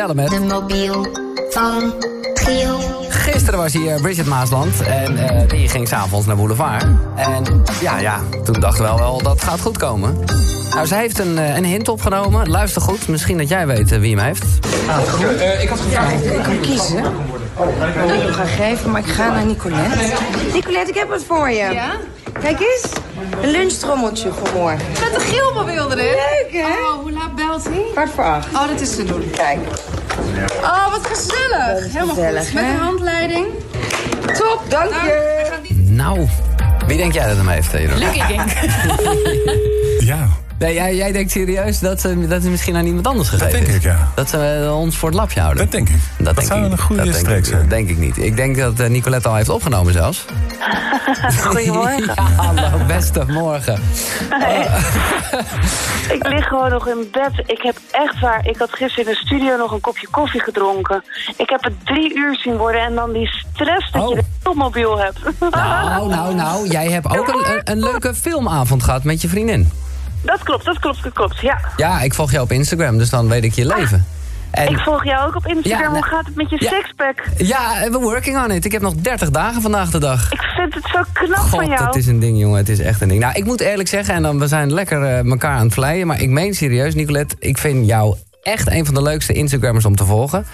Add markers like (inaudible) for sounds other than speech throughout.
bellen met... De mobiel van Giel. Gisteren was hier Bridget Maasland en eh, die ging s'avonds naar Boulevard. En ja, ja, toen dachten we wel, wel, dat gaat goed komen. Nou, ze heeft een, eh, een hint opgenomen. Luister goed, misschien dat jij weet eh, wie hem heeft. Ik kan kiezen. Ik wil gaan geven, maar ik ga naar Nicolette. Nicolette, ik heb wat voor je. Ja? Kijk eens, een lunchtrommeltje voor morgen. Met de gilmobiel erin. Leuk, hè? Oh, hoe laat belt hij? Kwart voor acht. Oh, dat is te doen. Kijk, Oh, wat gezellig. Helemaal gezellig, goed. Met hè? een handleiding. top, dank Nou, je. we gaan niet... Nou, wie denk jij dat hem heeft, Jeroen? Ik denk. Ja, Nee, jij, jij denkt serieus dat ze dat ze misschien aan iemand anders gegeven denk is? ik, ja. Dat ze eh, ons voor het lapje houden? dat denk ik. Dat, denk zou ik een niet. goede Dat denk streek ik- zijn. Dat denk ik niet. Ik denk dat eh, Nicolette al heeft opgenomen (laughs) zelfs. Goedemorgen. (laughs) ja, hallo, beste morgen. Ik lig gewoon nog in bed. Ik heb echt waar. Ik had gisteren in de studio nog een kopje koffie gedronken. Ik heb het drie uur zien worden en dan die stress dat Oh. je de filmmobiel hebt. Nou, nou, nou, jij hebt ook een, een, een leuke filmavond gehad met je vriendin. (laughs) Dat klopt, dat klopt, dat klopt. Ja. Ja, ik volg jou op Instagram, dus dan weet ik je leven. Ah, Ik En volg jou ook op Instagram. Ja, nou- Hoe gaat het met je Ja. sixpack? ja, eh, we're working on it. Ik heb nog 30 dagen vandaag de dag. Ik vind het zo knap van God, jou. het is een ding, jongen. Het is echt een ding. Nou, ik moet eerlijk zeggen, en dan, we zijn lekker eh, elkaar aan het vleien. Maar ik meen serieus, Nicolette, ik vind jou echt een van de leukste Instagrammers om te volgen.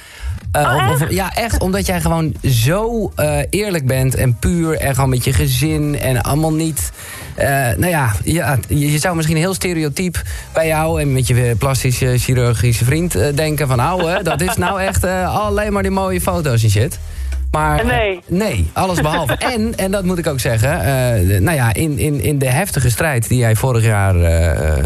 Eh, Oh, om- om- ja, echt, omdat jij gewoon zo eh, eerlijk bent en puur en gewoon met je gezin en allemaal niet... eh, nou ja, ja je, je zou misschien heel stereotyp bij jou en met je eh, plastische chirurgische vriend eh, denken van... ouwe, dat is nou echt eh, alleen maar die mooie foto's en shit. Maar eh, Nee. Nee, alles (laughs) behalve. en, en dat moet ik ook zeggen, eh, de- nou ja, in, in, in de heftige strijd die jij vorig jaar... eh, eh,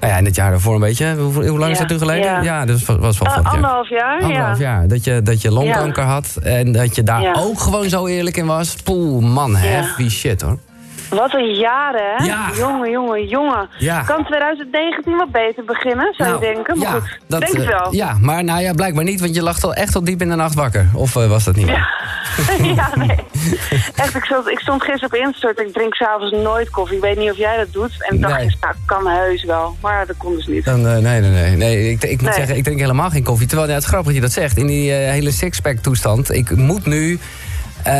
nou ja, in het jaar daarvoor een beetje. Hoe, hoe lang is Ja, dat nu geleden? ja. dat was, was wel Eh, vorig jaar. anderhalf jaar, Anderhalf ja. jaar. Dat je, dat je longkanker had en dat je daar Ja. ook gewoon zo eerlijk in was. Poeh, man, heavy shit hoor. Wat een jaren, hè? Ja. Jongen, jongen, jongen. Ja. Kan 2019 wat beter beginnen, zou Nou, je denken? Maar ja, goed, dat, denk het eh, wel. Ja, maar nou ja, blijkbaar niet, want je lag al echt tot diep in de nacht wakker. Of eh, was dat niet? waar? (laughs) ja, (laughs) nee. Echt, ik stond, ik stond gisteren op Instort. Ik drink s'avonds nooit koffie. Ik weet niet of jij dat doet. En ik dacht Nee. gisteren, nou, kan heus wel. Maar dat kon dus niet. Dan, eh, nee, nee, nee. nee ik, ik moet Nee. zeggen, ik drink helemaal geen koffie. Terwijl, ja, het is grappig dat je dat zegt. In die eh, hele sixpack toestand. Ik moet nu eh,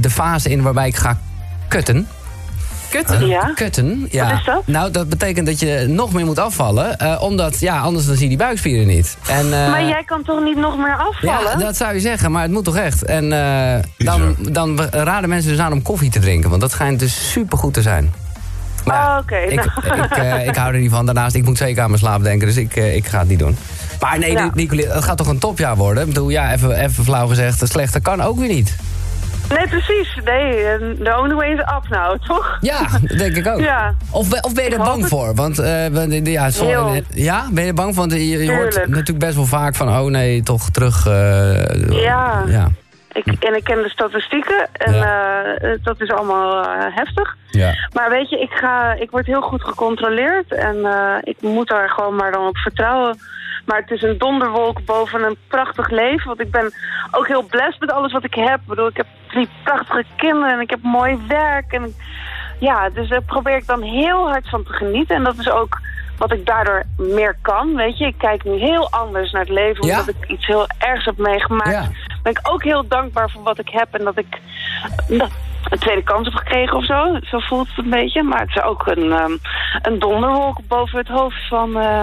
de fase in waarbij ik ga kutten. Eh, Kutten. Ja? Kutten, ja. Wat is dat? Nou, dat betekent dat je nog meer moet afvallen. eh, omdat, ja, anders dan zie je die buikspieren niet. En, eh, Maar jij kan toch niet nog meer afvallen? ja, dat zou je zeggen, maar het moet toch echt. En eh, dan, Bizar. dan raden mensen dus aan om koffie te drinken. Want dat schijnt dus supergoed te zijn. Maar ja, Oh, oké, ik, nou. ik, eh, ik hou er niet van. Daarnaast, ik moet zeker aan mijn slaap denken. Dus ik, eh, ik ga het niet doen. Maar nee, Ja. Nic- Nicolette, het gaat toch een topjaar worden? Ik bedoel, ja, even, even flauw gezegd. Het slechte kan ook weer niet. Nee, precies. Nee, eh, the only way is up nou, toch? Ja, dat denk ik ook. Ja. Of, ben- of ben je er hoop bang het. voor? Want, eh, want, eh, ja, sorry, Heel. eh, ja, ben je er bang voor? Want je, je hoort Tuurlijk. natuurlijk best wel vaak van... oh nee, toch terug... eh, Ja. ja. Ik, en ik ken de statistieken. En Ja. eh, eh, dat is allemaal eh, heftig. Ja. Maar weet je, ik, ga, ik word heel goed gecontroleerd. En eh, ik moet daar gewoon maar dan op vertrouwen. Maar het is een donderwolk boven een prachtig leven. Want ik ben ook heel blessed met alles wat ik heb. Ik bedoel, ik heb drie prachtige kinderen en ik heb mooi werk. En ja, dus daar probeer ik dan heel hard van te genieten. En dat is ook wat ik daardoor meer kan, weet je. Ik kijk nu heel anders naar het leven, Ja? omdat ik iets heel ergs heb meegemaakt. Ja. Ben ik ook heel dankbaar voor wat ik heb en dat ik nou, een tweede kans heb gekregen of zo. Zo voelt het een beetje. Maar het is ook een, ehm, een donderwolk boven het hoofd van... eh,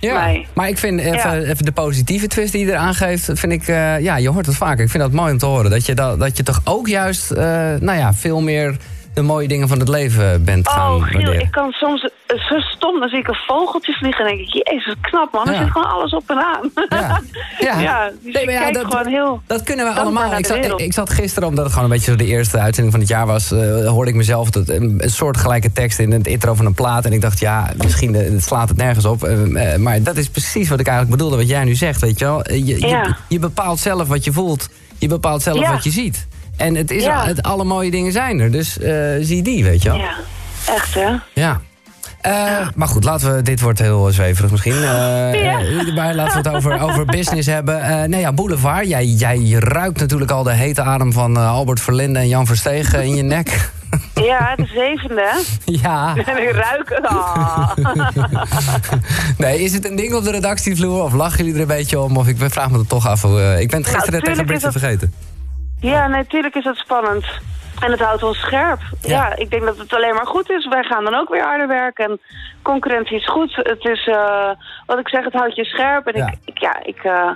Ja, Nee. maar ik vind even, Ja. even de positieve twist die je eraan geeft, vind ik, eh, ja, je hoort het vaker. Ik vind dat mooi om te horen. Dat je, dat, dat je toch ook juist, eh, nou ja, veel meer de mooie dingen van het leven bent gaan Oh, Giel, waarderen. ik kan soms eh, zo stom, dan zie ik een vogeltje vliegen en denk ik, jezus, knap man, er Ja. zit gewoon alles op en aan. (laughs) Ja. Ja. Ja, dus Nee, ik maar ja, kijk dat- gewoon heel... Dat kunnen we dankbaar allemaal. naar Ik de zat, wereld. ik zat gisteren, omdat het gewoon een beetje zo de eerste uitzending van het jaar was... eh, hoorde ik mezelf dat, een, een soortgelijke tekst in het intro van een plaat. En ik dacht, ja, misschien eh, het slaat het nergens op. Eh, eh, maar dat is precies wat ik eigenlijk bedoelde, wat jij nu zegt, weet je wel. Eh, Je, je- je, Ja. bepaalt zelf wat je voelt. Je bepaalt zelf Ja. wat je ziet. En het is Ja. al- het, alle mooie dingen zijn er, dus eh, zie die, weet je wel. Ja. Ja, echt hè. Eh, Maar goed, laten we, dit wordt heel zweverig misschien. (laughs) Eh, eh, Maar laten we het over, over business hebben. Eh nee, ja, Boulevard, jij, (laughs) jij ruikt natuurlijk al de hete adem van eh, Albert Verlinde en Jan Verstegen in je nek. Ja, de zevende. (laughs) hè? Ja. En ik ruik het. Ah. Nee, is het een ding op de redactievloer? Of lachen jullie er een beetje om? Of ik vraag me er toch af. hoe, eh, ik ben het Nou, gisteren tegen tuurlijk Britse is dat- vergeten. (laughs) Ja, natuurlijk is het spannend. En het houdt ons scherp. Ja. ik denk dat het alleen maar goed is. Wij gaan dan ook weer harder werken. En concurrentie is goed. Het is, eh, wat ik zeg, het houdt je scherp. En Ja. ik, ik, ja, ik, eh,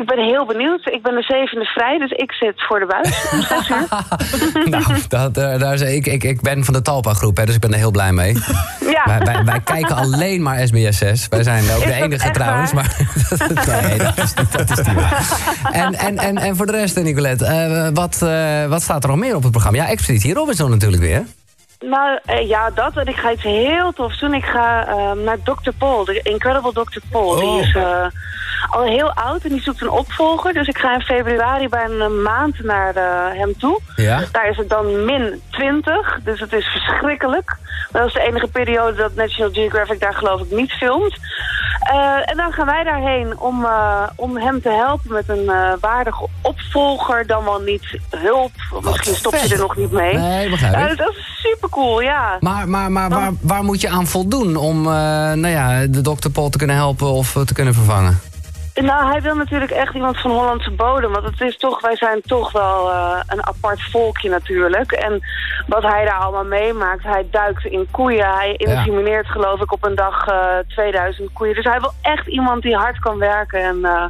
ik ben heel benieuwd. Ik ben de zevende vrij, dus ik zit voor de buis. (laughs) om zes uur. nou, dat, eh, daar is, ik, ik, ik ben van de Talpa-groep, hè, dus ik ben er heel blij mee. Ja. Wij, wij, wij kijken alleen maar SBS6. Wij zijn ook Is de dat enige echt trouwens. waar? Maar (laughs) nee, dat is, niet- dat is niet waar. En, en, en, en voor de rest, eh, Nicolette, eh, wat, eh, wat staat er nog meer op het programma? Ja, Expeditie Robinson natuurlijk weer. Nou, eh, ja, dat. En ik ga iets heel tofs doen. Ik ga eh, naar Dr. Paul, de Incredible Dr. Paul. Oh. Die is eh, al heel oud en die zoekt een opvolger. Dus ik ga in februari bijna een maand naar eh, hem toe. Ja. Daar is het dan min 20, dus het is verschrikkelijk. Maar dat is de enige periode dat National Geographic daar geloof ik niet filmt. Eh, en dan gaan wij daarheen om, eh, om hem te helpen met een eh, waardige opvolger. Dan wel niet hulp, misschien stopt je vet. er nog niet mee. Nee, begrijp ik. Ja, Nou, dat is super cool, ja. Maar, maar, maar waar, waar moet je aan voldoen om eh, nou ja, de dokter Paul te kunnen helpen of eh, te kunnen vervangen? Nou, hij wil natuurlijk echt iemand van Hollandse bodem. Want het is toch, wij zijn toch wel eh, een apart volkje natuurlijk. En wat hij daar allemaal meemaakt, hij duikt in koeien. Hij insemineert geloof ik op een dag eh, 2000 koeien. Dus hij wil echt iemand die hard kan werken. En eh,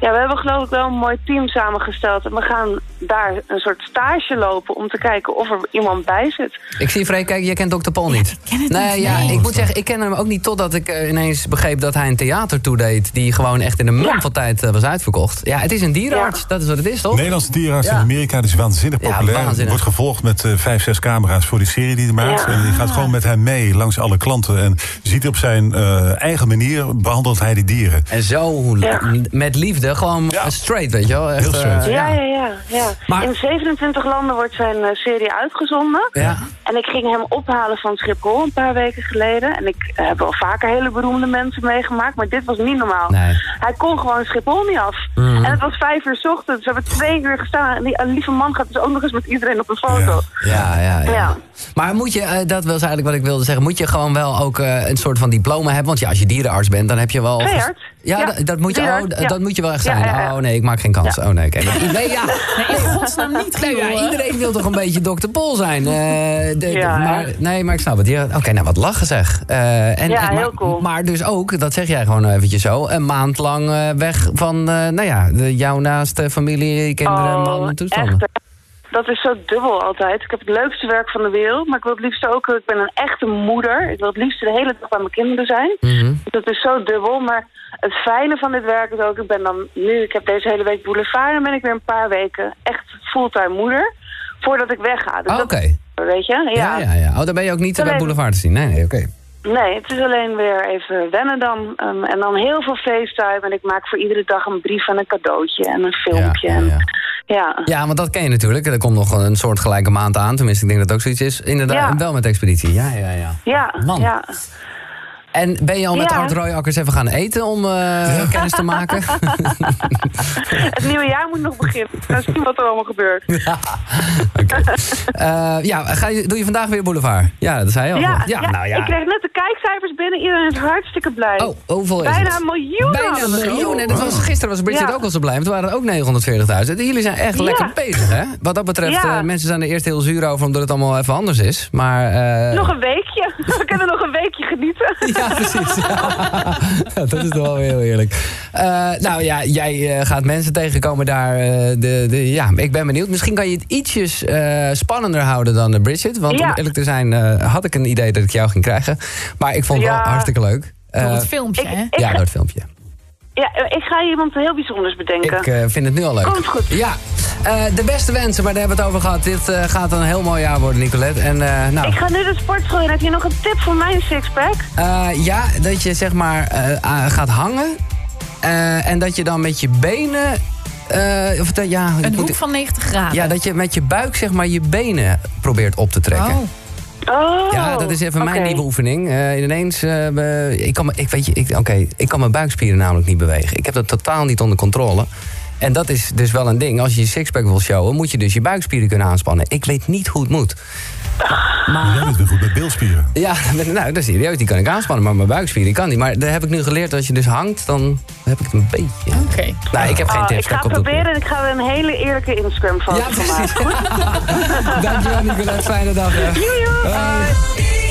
ja, we hebben geloof ik wel een mooi team samengesteld. En we gaan daar een soort stage lopen om te kijken of er iemand bij zit. Ik zie Freek, kijk, jij kent Dr. Paul niet. ken het nee, niet, ja, nee. ik moet zeggen, ik ken hem ook niet totdat ik eh, ineens begreep dat hij een theater toedeed. die gewoon echt in een mum van tijd eh, was uitverkocht. Ja, het is een dierenarts, Ja. dat is wat het is, toch? Nederlandse dierenarts Ja. in Amerika, die is waanzinnig Ja, populair. waanzinnig. Wordt gevolgd met eh, vijf, zes camera's voor die serie die hij maakt. Ja. En die gaat gewoon met hem mee langs alle klanten. En ziet op zijn eh, eigen manier behandelt hij die dieren. En zo Ja. m- met liefde, gewoon Ja. straight, weet je wel. Echt, Heel straight. eh, Ja, ja. ja, ja. ja. Maar- In 27 landen wordt zijn eh, serie uitgezonden. Ja. En ik ging hem ophalen van Schiphol een paar weken geleden. En ik eh, heb wel vaker hele beroemde mensen meegemaakt, maar dit was niet normaal. Nee. Hij kon gewoon Schiphol niet af. En het was vijf uur 's ochtends. We hebben twee uur gestaan. En die een lieve man gaat dus ook nog eens met iedereen op een foto. Ja, ja, ja. Ja. Maar moet je, eh, dat was eigenlijk wat ik wilde zeggen, moet je gewoon wel ook eh, een soort van diploma hebben? Want ja, als je dierenarts bent, dan heb je wel... Veearts? Ja, Ja, dat, dat moet je, oh, dierenarts, d- ja. dat moet je wel echt Ja, zijn. ja, ja. Oh nee, ik maak geen kans. Oh nee, oké. (laughs) Nee, ja. Nee, in godsnaam niet, Nee, Giel, ja, hè? iedereen wil toch een beetje Dr. Pol zijn. Eh, de- de- Ja, hè? maar, nee, maar ik snap het. Ja, Oké, nou wat lachen zeg. Eh, en, Ja, en- maar, heel cool. Maar dus ook, dat zeg jij gewoon eventjes zo, een maand lang eh, weg van, eh, nou ja, de, jouw naaste familie, kinderen, man, toestanden. Oh, echt, hè. Dat is zo dubbel altijd. Ik heb het leukste werk van de wereld, maar ik wil het liefst ook... Ik ben een echte moeder. Ik wil het liefst de hele dag bij mijn kinderen zijn. Mhm. Dat is zo dubbel, maar het fijne van dit werk is ook... Ik ben dan nu, ik heb deze hele week boulevard... en ben ik weer een paar weken echt fulltime moeder... voordat ik wegga. Dus Oh, dat- Oké. Weet je? Ja, ja, ja. Oh, daar ben je ook niet eh, bij Alleen- Boulevard te zien. Nee, nee, oké. Nee, het is alleen weer even wennen dan. Ehm, en dan heel veel FaceTime. En ik maak voor iedere dag een brief en een cadeautje en een filmpje. ja, en- ja. ja. Ja, want dat ken je natuurlijk. Er komt nog een soort gelijke maand aan. Tenminste, ik denk dat het ook zoiets is. Inderdaad, Ja. en wel met expeditie. Ja, ja, ja. Ja, Man. ja. En ben je al met Ja. Art Royakkers even gaan eten om eh, kennis te (laughs) maken? Het nieuwe jaar moet nog beginnen. Dan zien we wat er allemaal gebeurt. Eh, ja, ga je, doe je vandaag weer Boulevard? Ja, dat zei je al. Ja, ja, ja, nou ja. Ik kreeg net de kijkcijfers binnen. Iedereen is hartstikke blij. Oh, hoeveel is Bijna het? een miljoen. Bijna een hadden we. miljoen. En dat was, gisteren was Bridget Ja. ook al zo blij. Want het waren er ook 940.000. Jullie zijn echt Ja. lekker bezig, hè? Wat dat betreft, Ja. eh, mensen zijn er eerst heel zuur over... omdat het allemaal even anders is. Maar... eh, Nog een weekje. We kunnen nog een weekje genieten. Ja, precies. Ja, (laughs) dat is toch wel weer heel eerlijk. Eh, nou ja, jij eh, gaat mensen tegenkomen daar. eh, de, de, ja, ik ben benieuwd. Misschien kan je het ietsjes eh, spannender houden dan eh, Bridget. Want om Ja. eerlijk te zijn eh, had ik een idee dat ik jou ging krijgen. Maar ik vond het Ja. wel hartstikke leuk. Eh, Door het filmpje, hè? ik- ja, door het filmpje. Ja, ik ga iemand heel bijzonders bedenken. Ik eh, vind het nu al leuk. Komt goed. Ja. Eh, de beste wensen, maar daar hebben we het over gehad. Dit eh, gaat een heel mooi jaar worden, Nicolette. En eh, nou, Ik ga nu de sportschool in. Heb je nog een tip voor mijn sixpack? Eh, ja, dat je zeg maar eh, a- gaat hangen. eh, en dat je dan met je benen. eh, of dat, ja, ik Een moet- hoek van 90 graden. ja, dat je met je buik zeg maar je benen probeert op te trekken. Oh. Oh, Ja, dat is even mijn oké. nieuwe oefening. Eh, ineens, eh, be- ik kan, me- ik weet je, ik, oké, ik kan mijn buikspieren namelijk niet bewegen. Ik heb dat totaal niet onder controle. En dat is dus wel een ding. Als je je sixpack wil showen, moet je dus je buikspieren kunnen aanspannen. Ik weet niet hoe het moet. Jij bent weer goed bij bilspieren. Ja, (laughs) nou, dat is serieus. Die kan ik aanspannen, maar mijn buikspieren die kan niet. Maar daar heb ik nu geleerd, als je dus hangt, dan heb ik het een beetje. Oké. Nou, ik heb geen Ah, tips. ik ga dat komt ook proberen en ik ga er een hele eerlijke Instagram foto Ja, (laughs) van maken. precies. Dankjewel, Nicolette. Fijne dag. hè. Joejoe! Hoi. Bye.